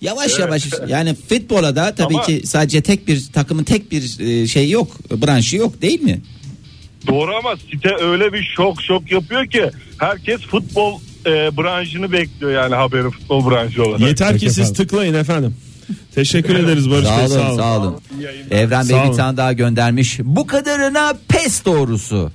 Speaker 3: Yavaş yavaş yani futbola da tabii
Speaker 6: Ama-
Speaker 3: ki sadece tek bir takımın tek bir e, şey yok, branşı yok değil mi?
Speaker 6: Doğru ama site öyle bir şok şok yapıyor ki herkes futbol e, branşını bekliyor yani haberi futbol branşı olarak.
Speaker 1: Yeter ki
Speaker 2: Peki
Speaker 1: siz
Speaker 2: efendim.
Speaker 1: tıklayın efendim. Teşekkür ederiz Barış
Speaker 3: Sağ
Speaker 1: Bey
Speaker 3: olun,
Speaker 1: sağ olun.
Speaker 3: sağ olun. Evren Bey
Speaker 1: Sağ
Speaker 3: bir
Speaker 1: olun.
Speaker 3: tane daha göndermiş. Bu kadarına pes doğrusu.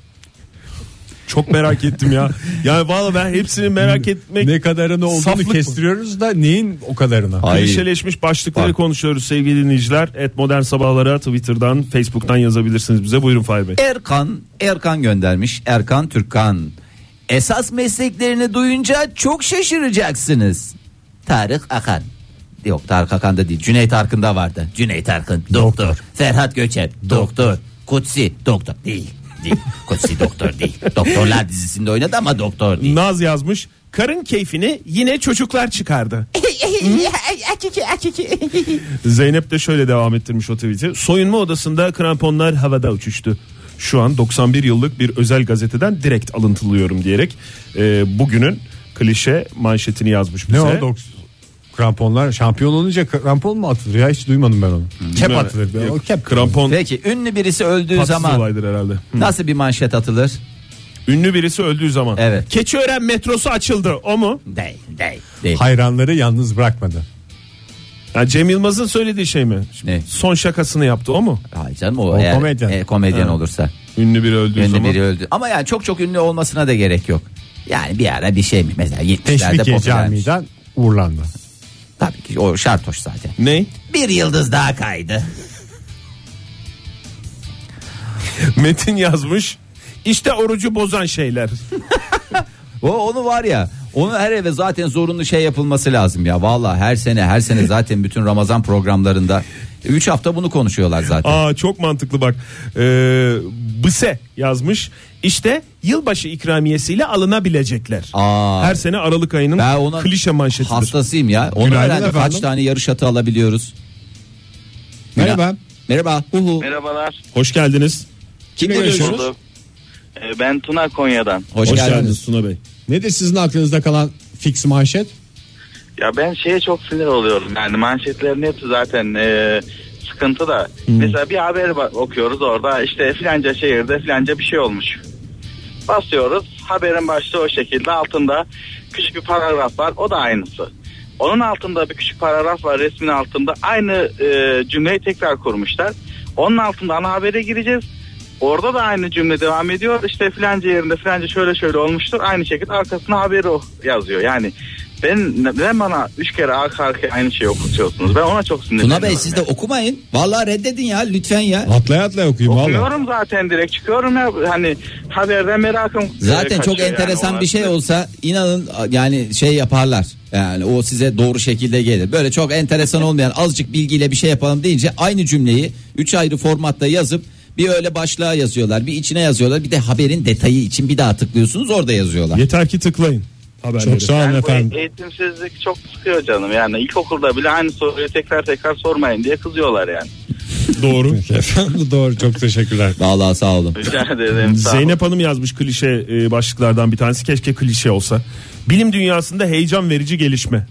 Speaker 1: Çok merak ettim ya. Yani valla ben hepsini merak etmek
Speaker 2: Ne kadarını olduğunu
Speaker 1: Saflık mı?
Speaker 2: kestiriyoruz da neyin o kadarını?
Speaker 1: Klişeleşmiş başlıkları
Speaker 3: Bak.
Speaker 1: konuşuyoruz sevgili dinleyiciler. Et modern sabahlara Twitter'dan, Facebook'tan yazabilirsiniz bize. Buyurun Fahir Bey.
Speaker 3: Erkan, Erkan göndermiş. Erkan Türkan. Esas mesleklerini duyunca çok şaşıracaksınız. Tarık Akan. Yok Tarık Akan'da değil. Cüneyt Arkın'da vardı. Cüneyt Arkın doktor. Ferhat Göçer doktor. Kutsi doktor değil. değil. Kutsi doktor değil. Doktorlar dizisinde oynadı ama doktor değil.
Speaker 1: Naz yazmış. Karın keyfini yine çocuklar çıkardı. Zeynep de şöyle devam ettirmiş o tweet'i. Soyunma odasında kramponlar havada uçuştu. şu an 91 yıllık bir özel gazeteden direkt alıntılıyorum diyerek e, bugünün klişe manşetini yazmış bize.
Speaker 2: Ne o doks? Kramponlar şampiyon olunca krampon mu atılır ya hiç duymadım ben onu. Kep
Speaker 1: Bilmem.
Speaker 2: atılır. be, O
Speaker 1: Hmm. Yok,
Speaker 2: kep
Speaker 1: Krampon
Speaker 3: Peki ünlü birisi öldüğü
Speaker 1: tatsız
Speaker 3: zaman
Speaker 1: olaydır herhalde. Hı.
Speaker 3: nasıl bir manşet atılır?
Speaker 1: Ünlü birisi öldüğü zaman.
Speaker 3: Evet.
Speaker 1: Keçiören metrosu açıldı. O mu?
Speaker 3: Değil, değil, değil.
Speaker 2: hayranları yalnız bırakmadı.
Speaker 1: Ya Cem Yılmaz'ın söylediği şey mi?
Speaker 3: Ne?
Speaker 1: Son şakasını yaptı o mu?
Speaker 3: Hayır canım o, eğer
Speaker 2: komedyen.
Speaker 3: e, komedyen olursa.
Speaker 1: Ünlü biri öldüğü
Speaker 3: Ünlü
Speaker 1: zaman.
Speaker 3: biri öldü. Ama yani çok çok ünlü olmasına da gerek yok. Yani bir ara bir şey mi mesela 70'lerde
Speaker 2: Teşvikiye
Speaker 3: popülermiş.
Speaker 2: camiden uğurlandı.
Speaker 3: Tabii ki o şartoş zaten.
Speaker 1: Ney?
Speaker 3: Bir yıldız daha kaydı.
Speaker 1: Metin yazmış. İşte orucu bozan şeyler.
Speaker 3: O onu var ya onu her eve zaten zorunlu şey yapılması lazım ya. Vallahi her sene her sene zaten bütün Ramazan programlarında 3 hafta bunu konuşuyorlar zaten.
Speaker 1: Aa çok mantıklı bak. Ee, Bıse yazmış. İşte yılbaşı ikramiyesiyle alınabilecekler.
Speaker 3: Aa.
Speaker 1: Her sene Aralık ayının
Speaker 3: Ben ona
Speaker 1: klişe manşetidir.
Speaker 3: Hastasıyım ya. Onu
Speaker 2: Günaydın
Speaker 3: öğrendim. Kaç
Speaker 2: efendim.
Speaker 3: tane yarış atı alabiliyoruz? Günay-
Speaker 2: Merhaba.
Speaker 3: Merhaba. Uhu.
Speaker 4: Merhabalar.
Speaker 1: Hoş geldiniz.
Speaker 3: Kimle
Speaker 2: Kimle
Speaker 3: görüşüyoruz?
Speaker 4: Bulduk. Ee, Ben Tuna Konya'dan.
Speaker 3: Hoş, geldiniz.
Speaker 1: Tuna Bey.
Speaker 2: Nedir sizin aklınızda kalan fix manşet?
Speaker 4: Ya ben şeye çok sinir oluyorum. Yani manşetlerin hepsi zaten e, sıkıntı da. Mesela bir haber ba- okuyoruz orada işte filanca şehirde filanca bir şey olmuş. Basıyoruz haberin başlığı o şekilde altında küçük bir paragraf var o da aynısı. Onun altında bir küçük paragraf var resmin altında aynı e, cümleyi tekrar kurmuşlar. Onun altında ana habere gireceğiz. Orada da aynı cümle devam ediyor. İşte filanca yerinde filanca şöyle şöyle olmuştur. Aynı şekilde arkasına haberi o yazıyor. Yani ben neden bana üç kere arka arkaya aynı şeyi okutuyorsunuz? Ben ona çok sinirleniyorum.
Speaker 3: Tuna Bey siz de okumayın. Vallahi reddedin ya lütfen ya.
Speaker 2: Atlaya atlaya okuyayım valla.
Speaker 4: Okuyorum zaten direkt çıkıyorum ya hani haberden merakım.
Speaker 3: Zaten
Speaker 4: e,
Speaker 3: çok
Speaker 4: kaçıyor yani
Speaker 3: enteresan
Speaker 4: ona.
Speaker 3: bir şey olsa inanın yani şey yaparlar. Yani o size doğru şekilde gelir. Böyle çok enteresan olmayan azıcık bilgiyle bir şey yapalım deyince aynı cümleyi 3 ayrı formatta yazıp bir öyle başlığa yazıyorlar, bir içine yazıyorlar, bir de haberin detayı için bir daha tıklıyorsunuz orada yazıyorlar.
Speaker 2: Yeter ki tıklayın. Çok sağ olun
Speaker 4: Yani bu
Speaker 2: efendim.
Speaker 4: eğitimsizlik çok sıkıyor canım yani ilkokulda bile aynı soruyu tekrar tekrar sormayın diye kızıyorlar yani.
Speaker 1: Doğru.
Speaker 2: efendim doğru çok teşekkürler.
Speaker 3: Vallahi sağ olun.
Speaker 4: Rica ederim. sağ olun.
Speaker 1: Zeynep Hanım yazmış klişe e, başlıklardan bir tanesi. Keşke klişe olsa. Bilim dünyasında heyecan verici gelişme.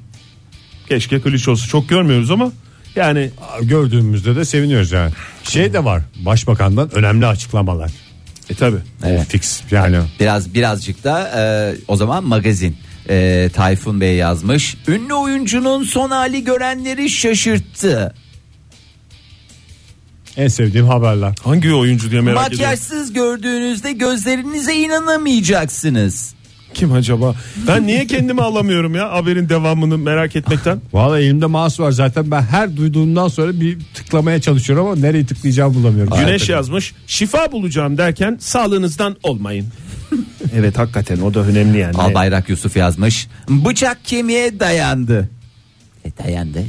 Speaker 1: Keşke klişe olsa. Çok görmüyoruz ama yani
Speaker 2: Gördüğümüzde de seviniyoruz yani. Şey de var başbakandan önemli açıklamalar.
Speaker 1: e tabi.
Speaker 2: O fix yani.
Speaker 3: Biraz birazcık da e, o zaman magazin. E, Tayfun Bey yazmış. Ünlü oyuncunun son hali görenleri şaşırttı.
Speaker 2: En sevdiğim haberler.
Speaker 1: Hangi oyuncu diye merak ediyorum.
Speaker 3: Makyajsız gördüğünüzde gözlerinize inanamayacaksınız.
Speaker 1: Kim acaba? Ben niye kendimi alamıyorum ya haberin devamını merak etmekten.
Speaker 2: Valla elimde mouse var zaten ben her duyduğumdan sonra bir tıklamaya çalışıyorum ama nereyi tıklayacağımı bulamıyorum.
Speaker 1: Güneş yazmış. Şifa bulacağım derken sağlığınızdan olmayın. evet hakikaten o da önemli yani.
Speaker 3: Albayrak Yusuf yazmış. Bıçak kemiğe dayandı. E, dayandı.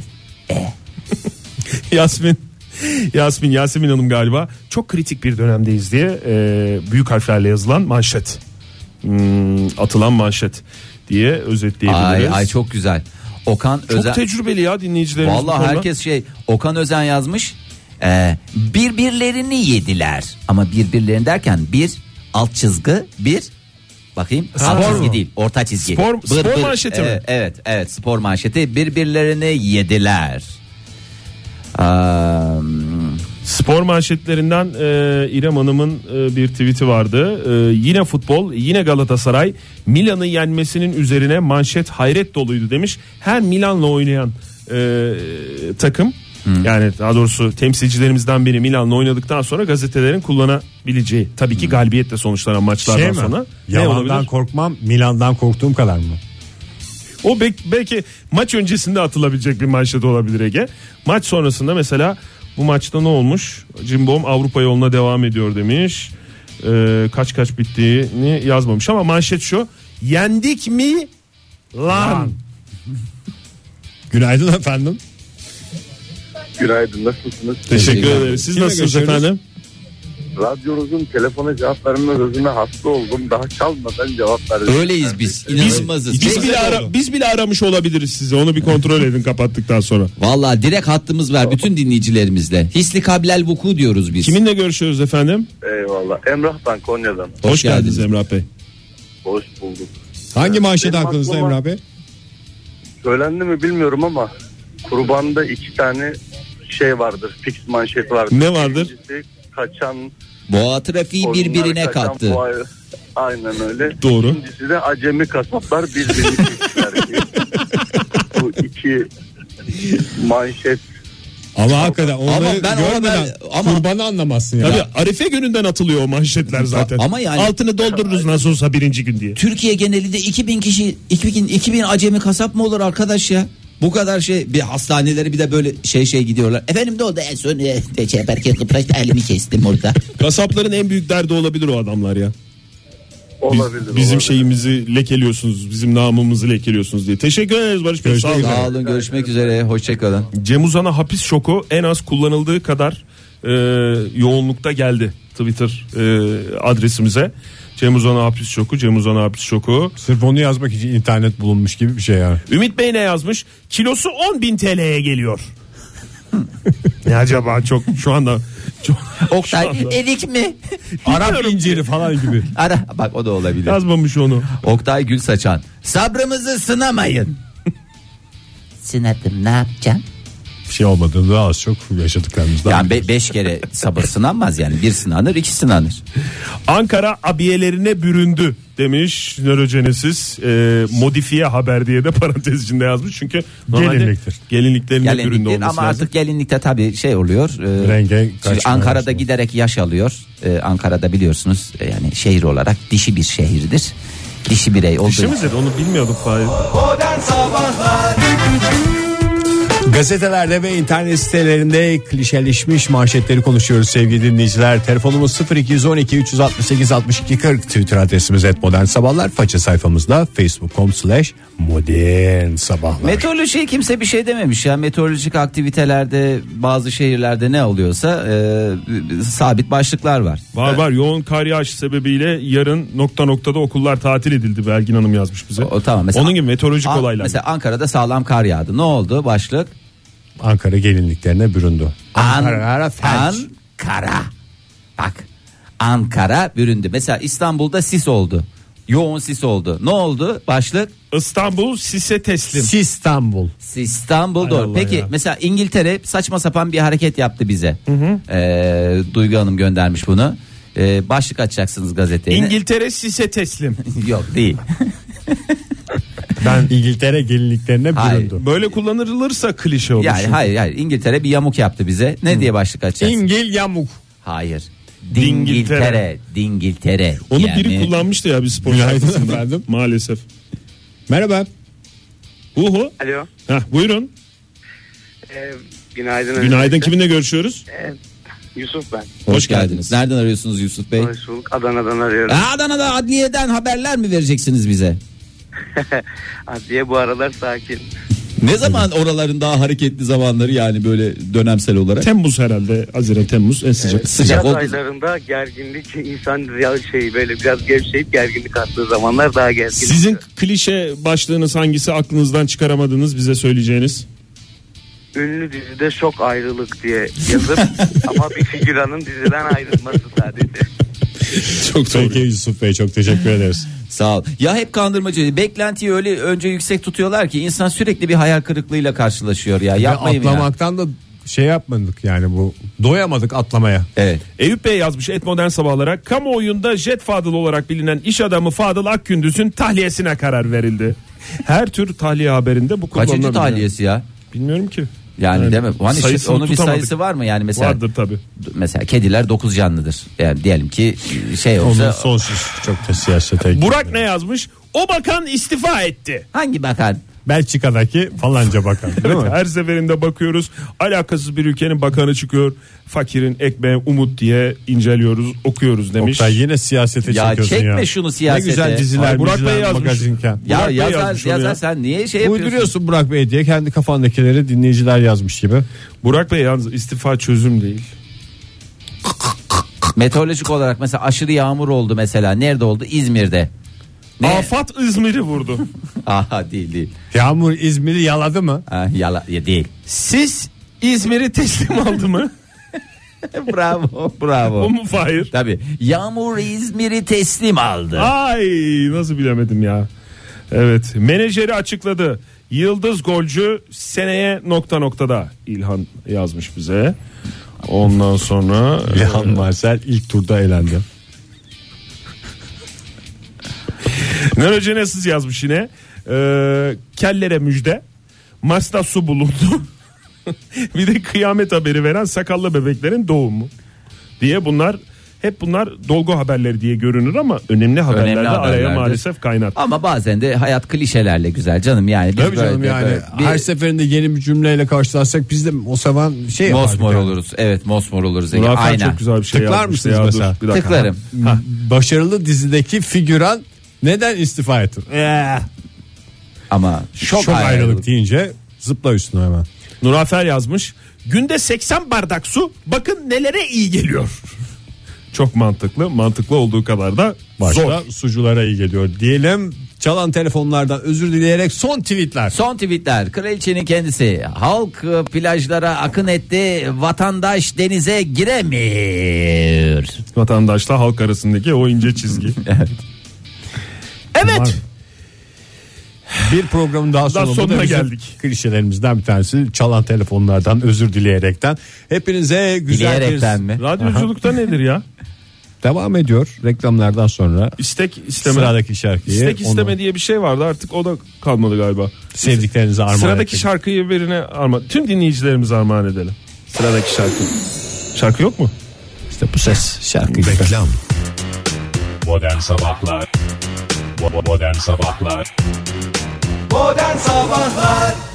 Speaker 1: Yasmin. Yasmin Yasemin Hanım galiba çok kritik bir dönemdeyiz diye e, büyük harflerle yazılan manşet. Hmm, atılan manşet diye özetleyebiliriz.
Speaker 3: Ay, ay çok güzel. Okan
Speaker 1: Çok
Speaker 3: Özen.
Speaker 1: tecrübeli ya dinleyicilerimiz. bu
Speaker 3: Vallahi
Speaker 1: konuda.
Speaker 3: herkes şey Okan Özen yazmış. E, birbirlerini yediler. Ama birbirlerini derken bir alt çizgi bir bakayım alt
Speaker 1: Spor
Speaker 3: çizgi
Speaker 1: mu?
Speaker 3: değil orta çizgi.
Speaker 1: Spor- spor manşeti mi?
Speaker 3: Evet, Evet evet spor manşeti birbirlerini yediler. Eee
Speaker 1: Spor manşetlerinden e, İrem Hanım'ın e, bir tweet'i vardı. E, yine futbol, yine Galatasaray Milan'ı yenmesinin üzerine manşet hayret doluydu demiş. Her Milan'la oynayan e, takım yani daha doğrusu temsilcilerimizden biri Milan'la oynadıktan sonra gazetelerin kullanabileceği tabii ki galibiyetle sonuçlanan maçlardan
Speaker 2: Şey mi?
Speaker 1: sonra ne
Speaker 2: Yalandan
Speaker 1: olabilir?
Speaker 2: korkmam Milan'dan korktuğum kadar mı?
Speaker 1: O bek- belki maç öncesinde atılabilecek bir manşet olabilir Ege. Maç sonrasında mesela bu maçta ne olmuş? Cimbom Avrupa yoluna devam ediyor demiş. Ee, kaç kaç bittiğini yazmamış ama manşet şu. Yendik mi lan?
Speaker 2: Günaydın efendim.
Speaker 7: Günaydın nasılsınız?
Speaker 1: Teşekkür
Speaker 3: Teşekkür
Speaker 1: ederim. Siz
Speaker 2: Kimle
Speaker 1: nasılsınız
Speaker 2: görüşüyoruz?
Speaker 1: efendim?
Speaker 6: radyonuzun telefona cevap verme hızına hasta oldum. Daha çalmadan cevap verdim.
Speaker 8: Öyleyiz biz.
Speaker 1: Biz,
Speaker 8: İnanılmazız.
Speaker 1: biz bile ara- biz bile aramış olabiliriz sizi. Onu bir kontrol edin kapattıktan sonra.
Speaker 8: Valla direkt hattımız var bütün dinleyicilerimizle. Hisli kabilel vuku diyoruz biz.
Speaker 1: Kiminle görüşüyoruz efendim?
Speaker 4: Eyvallah. Emrah ben Konya'dan.
Speaker 1: Hoş,
Speaker 8: Hoş
Speaker 1: geldiniz
Speaker 8: geldiniz.
Speaker 1: Emrah Bey.
Speaker 4: Hoş bulduk.
Speaker 2: Hangi manşet
Speaker 4: Ee, Benim
Speaker 2: aklınızda
Speaker 4: aklıma-
Speaker 2: Emrah Bey?
Speaker 4: Söylendi mi bilmiyorum ama kurbanda iki tane şey vardır. Fix manşet vardır.
Speaker 1: Ne vardır?
Speaker 4: Birincisi kaçan
Speaker 8: Boğa trafiği
Speaker 4: koyunlar,
Speaker 8: birbirine
Speaker 4: kaçan
Speaker 8: kattı.
Speaker 4: boğa- Aynen öyle.
Speaker 1: Doğru.
Speaker 4: İkincisi de acemi kasaplar birbirini kestiler. Bu iki manşet
Speaker 2: Ama hakikaten onları
Speaker 8: ben ona
Speaker 2: görmeden
Speaker 8: ben- ama-
Speaker 2: kurbanı anlamazsın ya.
Speaker 1: Tabii Arife gününden atılıyor o manşetler zaten.
Speaker 8: ama yani-
Speaker 1: Altını doldururuz nasıl olsa birinci gün diye.
Speaker 8: Türkiye genelinde 2000 kişi 2000 2000 acemi kasap mı olur arkadaş ya? Bu kadar şey bir hastanelere bir de böyle şey şey gidiyorlar. Efendim ne oldu en son e, şey, belki Kıbraş'ta elimi kestim orada.
Speaker 1: Kasapların en büyük derdi olabilir o adamlar ya. Biz-
Speaker 4: olabilir.
Speaker 1: bizim şey-
Speaker 4: olabilir.
Speaker 1: şeyimizi lekeliyorsunuz, bizim namımızı lekeliyorsunuz diye. Teşekkür ederiz Barış Bey. Sağ olun.
Speaker 8: Sağ olun görüşmek üzere hoşçakalın.
Speaker 1: Cem Uzan'a hapis şoku en az kullanıldığı kadar e, yoğunlukta geldi Twitter e, adresimize. Cem Uzan'a hapis şoku, Cem Uzan'a hapis şoku.
Speaker 2: Sırf onu yazmak için internet bulunmuş gibi bir şey yani.
Speaker 1: Ümit Bey ne yazmış? Kilosu 10 bin TL'ye geliyor. ne acaba çok şu anda çok,
Speaker 3: Oktay
Speaker 1: Şu anda.
Speaker 3: erik mi?
Speaker 2: Arap inciri falan gibi.
Speaker 3: Ara bak o da olabilir.
Speaker 1: yazmamış onu.
Speaker 3: Oktay Gül Saçan. Sabrımızı sınamayın. Sınadım ne yapacağım?
Speaker 2: Bir şey olmadığını daha az çok yaşadıklarımızdan.
Speaker 3: Yani be- beş kere sabır sınanmaz yani. Bir sınanır iki sınanır.
Speaker 1: Ankara abiyelerine büründü demiş nörojenesiz e, modifiye haber diye de parantez içinde yazmış çünkü normalde
Speaker 2: Gelinliktir.
Speaker 1: gelinliklerine büründü
Speaker 3: Gelinliktir
Speaker 1: olması
Speaker 3: ama
Speaker 1: lazım.
Speaker 3: artık gelinlikte tabii şey oluyor. e,
Speaker 2: Renge
Speaker 3: çünkü
Speaker 2: kaçmaya
Speaker 3: Ankara'da
Speaker 2: başladı.
Speaker 3: giderek yaş alıyor. E, Ankara'da biliyorsunuz e, yani şehir olarak dişi bir şehirdir. Dişi birey olduğu
Speaker 1: Dişi mi dedi? onu bilmiyordum Fahir.
Speaker 2: Gazetelerde ve internet sitelerinde klişeleşmiş manşetleri konuşuyoruz sevgili dinleyiciler. Telefonumuz 0212 368 62 40 Twitter adresimiz et modern sabahlar. Faça sayfamızda facebook.com slash modern sabahlar.
Speaker 3: Meteorolojiye kimse bir şey dememiş ya. Meteorolojik aktivitelerde bazı şehirlerde ne oluyorsa e, sabit başlıklar var.
Speaker 1: Var var yoğun kar yağışı sebebiyle yarın nokta noktada okullar tatil edildi Belgin Hanım yazmış bize.
Speaker 3: O tamam mesela.
Speaker 1: Onun gibi meteorolojik
Speaker 3: An-
Speaker 1: olaylar.
Speaker 3: Mesela Ankara'da sağlam kar yağdı. Ne oldu başlık?
Speaker 2: Ankara gelinliklerine büründü.
Speaker 3: An-
Speaker 2: Ankara felç.
Speaker 3: Ankara. Bak. Ankara büründü. Mesela İstanbul'da sis oldu. Yoğun sis oldu. Ne oldu? Başlık
Speaker 1: İstanbul sise teslim.
Speaker 2: İstanbul.
Speaker 3: İstanbul doğru.
Speaker 1: Allah
Speaker 3: Peki
Speaker 1: ya.
Speaker 3: mesela İngiltere saçma sapan bir hareket yaptı bize. Ee, Duygu Hanım göndermiş bunu. Ee, başlık açacaksınız gazeteye.
Speaker 1: İngiltere sise teslim.
Speaker 3: Yok değil.
Speaker 2: Ben İngiltere gelinliklerine
Speaker 3: Hayır.
Speaker 2: büründü.
Speaker 1: Böyle kullanılırsa klişe olur.
Speaker 3: Yani
Speaker 1: çünkü.
Speaker 3: hayır hayır İngiltere bir yamuk yaptı bize. Ne diye başlık açacağız?
Speaker 2: İngil yamuk.
Speaker 3: hayır. Dingiltere,
Speaker 1: Dingiltere.
Speaker 3: Dingiltere.
Speaker 1: Onu
Speaker 3: Yani-
Speaker 1: biri kullanmıştı ya bir spor
Speaker 2: Günaydın
Speaker 1: şarkısında.
Speaker 2: efendim.
Speaker 1: Maalesef.
Speaker 2: Merhaba.
Speaker 1: Uhu.
Speaker 9: Alo.
Speaker 1: Heh, buyurun.
Speaker 9: Ee, günaydın.
Speaker 1: Günaydın.
Speaker 9: öncelikle.
Speaker 1: Kiminle görüşüyoruz?
Speaker 9: Yusuf ben.
Speaker 8: Hoş, geldiniz. Nereden arıyorsunuz Yusuf Bey?
Speaker 9: Hoş bulduk. Adana'dan arıyorum.
Speaker 8: Ha, Adana'da adliyeden haberler mi vereceksiniz bize?
Speaker 9: Adliye bu aralar sakin.
Speaker 8: Ne zaman oraların daha hareketli zamanları yani böyle dönemsel olarak?
Speaker 1: Temmuz herhalde. Haziran Temmuz en sıcak.
Speaker 8: Sıcak
Speaker 9: Yaz
Speaker 8: oldu.
Speaker 9: aylarında gerginlik insan ya şey böyle biraz gevşeyip gerginlik attığı zamanlar daha gergin.
Speaker 1: Sizin
Speaker 9: oluyor.
Speaker 1: klişe başlığınız hangisi aklınızdan çıkaramadınız bize söyleyeceğiniz?
Speaker 9: ünlü dizide şok ayrılık diye yazıp ama bir figüranın diziden ayrılması sadece.
Speaker 2: Çok Peki Yusuf Bey çok teşekkür ederiz.
Speaker 8: Sağ ol. Ya hep kandırmacı. Beklentiyi öyle önce yüksek tutuyorlar ki insan sürekli bir hayal kırıklığıyla karşılaşıyor ya. Yapmayın ya.
Speaker 2: atlamaktan da şey yapmadık yani bu doyamadık atlamaya.
Speaker 8: Evet.
Speaker 1: Eyüp Bey yazmış et modern sabahlara. Kamuoyunda Jet Fadıl olarak bilinen iş adamı Fadıl Akgündüz'ün tahliyesine karar verildi. Her tür tahliye haberinde bu kullanılabilir.
Speaker 8: Kaçıncı tahliyesi ya?
Speaker 1: Bilmiyorum ki.
Speaker 8: Yani,
Speaker 1: Yani
Speaker 8: değil mi? Hani şu-
Speaker 1: sayısını
Speaker 8: onun bir
Speaker 1: tutamadık.
Speaker 8: sayısı var mı? Yani mesela
Speaker 1: Vardır tabii.
Speaker 8: mesela kediler 9 canlıdır. Yani diyelim ki şey olsa
Speaker 2: sonsuz çok da siyasete.
Speaker 1: Burak ne yazmış? O bakan istifa etti.
Speaker 3: Hangi bakan?
Speaker 2: Belçika'daki falanca bakan değil mi?
Speaker 1: Her seferinde bakıyoruz. Alakasız bir ülkenin bakanı çıkıyor. Fakirin ekmeğe umut diye inceliyoruz, okuyoruz demiş.
Speaker 2: Oktay yine siyasete
Speaker 3: Ya
Speaker 2: çekiyorsun
Speaker 3: çekme
Speaker 2: ya.
Speaker 3: şunu siyasete.
Speaker 2: Ne güzel diziler
Speaker 1: Ay, Burak
Speaker 2: Burak
Speaker 1: Bey
Speaker 2: Bey
Speaker 1: yazmış.
Speaker 2: magazinken.
Speaker 3: Ya
Speaker 1: Burak Bey
Speaker 3: yazar
Speaker 1: yazmış onu
Speaker 3: yazar
Speaker 1: ya.
Speaker 3: sen niye şey yapıyorsun?
Speaker 2: Uyduruyorsun Burak Bey diye kendi kafandakileri dinleyiciler yazmış gibi.
Speaker 1: Burak Bey yalnız istifa çözüm değil.
Speaker 3: Meteorolojik olarak mesela aşırı yağmur oldu mesela. Nerede oldu? İzmir'de. Ne?
Speaker 1: Afat İzmir'i vurdu.
Speaker 3: Aha değil değil.
Speaker 2: Yağmur İzmir'i yaladı mı?
Speaker 3: Ha, yala, ya değil.
Speaker 1: Siz İzmir'i teslim aldı mı?
Speaker 3: bravo bravo.
Speaker 1: o mu Fahir?
Speaker 3: Tabii. Yağmur İzmir'i teslim aldı.
Speaker 1: Ay nasıl bilemedim ya. Evet menajeri açıkladı. Yıldız golcü seneye nokta noktada İlhan yazmış bize. Ondan sonra
Speaker 2: Lehan Marcel ilk turda elendi.
Speaker 1: Nörojenesiz yazmış yine. Ee, kellere müjde. Mars'ta su bulundu. bir de kıyamet haberi veren sakallı bebeklerin doğumu. Diye bunlar hep bunlar dolgu haberleri diye görünür ama önemli haberlerde araya
Speaker 3: haberlerdir.
Speaker 1: maalesef kaynat.
Speaker 3: Ama bazen de hayat klişelerle güzel canım yani. Biz
Speaker 2: Tabii canım
Speaker 3: böyle-
Speaker 2: yani
Speaker 3: böyle bir
Speaker 2: her şey seferinde yeni bir cümleyle karşılaşsak biz de o zaman şey yapardık
Speaker 3: mosmor
Speaker 2: yani.
Speaker 3: oluruz. Evet mosmor oluruz. Ege.
Speaker 1: Rafael
Speaker 3: Aynen.
Speaker 1: çok güzel bir şey
Speaker 2: Tıklar
Speaker 1: yazmıştı
Speaker 2: mısınız
Speaker 1: ya. Dur,
Speaker 2: mesela?
Speaker 1: bir dakika.
Speaker 3: Tıklarım.
Speaker 2: Ha. Başarılı dizideki figüran neden istifa etti?
Speaker 3: Ama şok,
Speaker 2: Çok ayrılık,
Speaker 3: ayrılık.
Speaker 2: deyince zıpla üstüne hemen.
Speaker 1: Nurafer yazmış. Günde 80 bardak su bakın nelere iyi geliyor. Çok mantıklı. Mantıklı olduğu kadar da
Speaker 2: Başta
Speaker 1: zor.
Speaker 2: suculara iyi geliyor diyelim. Çalan telefonlardan özür dileyerek son tweetler.
Speaker 3: Son tweetler. Kraliçenin kendisi. Halk e, plajlara akın etti. Vatandaş denize giremiyor.
Speaker 1: Vatandaşla halk arasındaki o ince çizgi. evet. Evet.
Speaker 2: Bir programın daha sonunda da
Speaker 1: sonuna
Speaker 2: bizim
Speaker 1: geldik.
Speaker 2: Klişelerimizden bir tanesi çalan telefonlardan özür dileyerekten. Hepinize güzel
Speaker 3: Dileyerekten
Speaker 2: bir
Speaker 3: mi?
Speaker 1: Radyoculukta nedir ya?
Speaker 2: devam ediyor. Reklamlardan sonra
Speaker 1: İstek isteme.
Speaker 2: sıradaki şarkıyı
Speaker 1: İstek
Speaker 2: onu
Speaker 1: isteme diye bir şey vardı artık o da kalmadı galiba.
Speaker 2: sevdiklerinize armağan
Speaker 1: Sıradaki
Speaker 2: etmek.
Speaker 1: şarkıyı birine armağan. Tüm dinleyicilerimize armağan edelim. Sıradaki şarkı. Şarkı yok mu?
Speaker 2: İşte bu ses şarkı. Reklam.
Speaker 6: Modern Sabahlar Modern Sabahlar
Speaker 10: Modern Sabahlar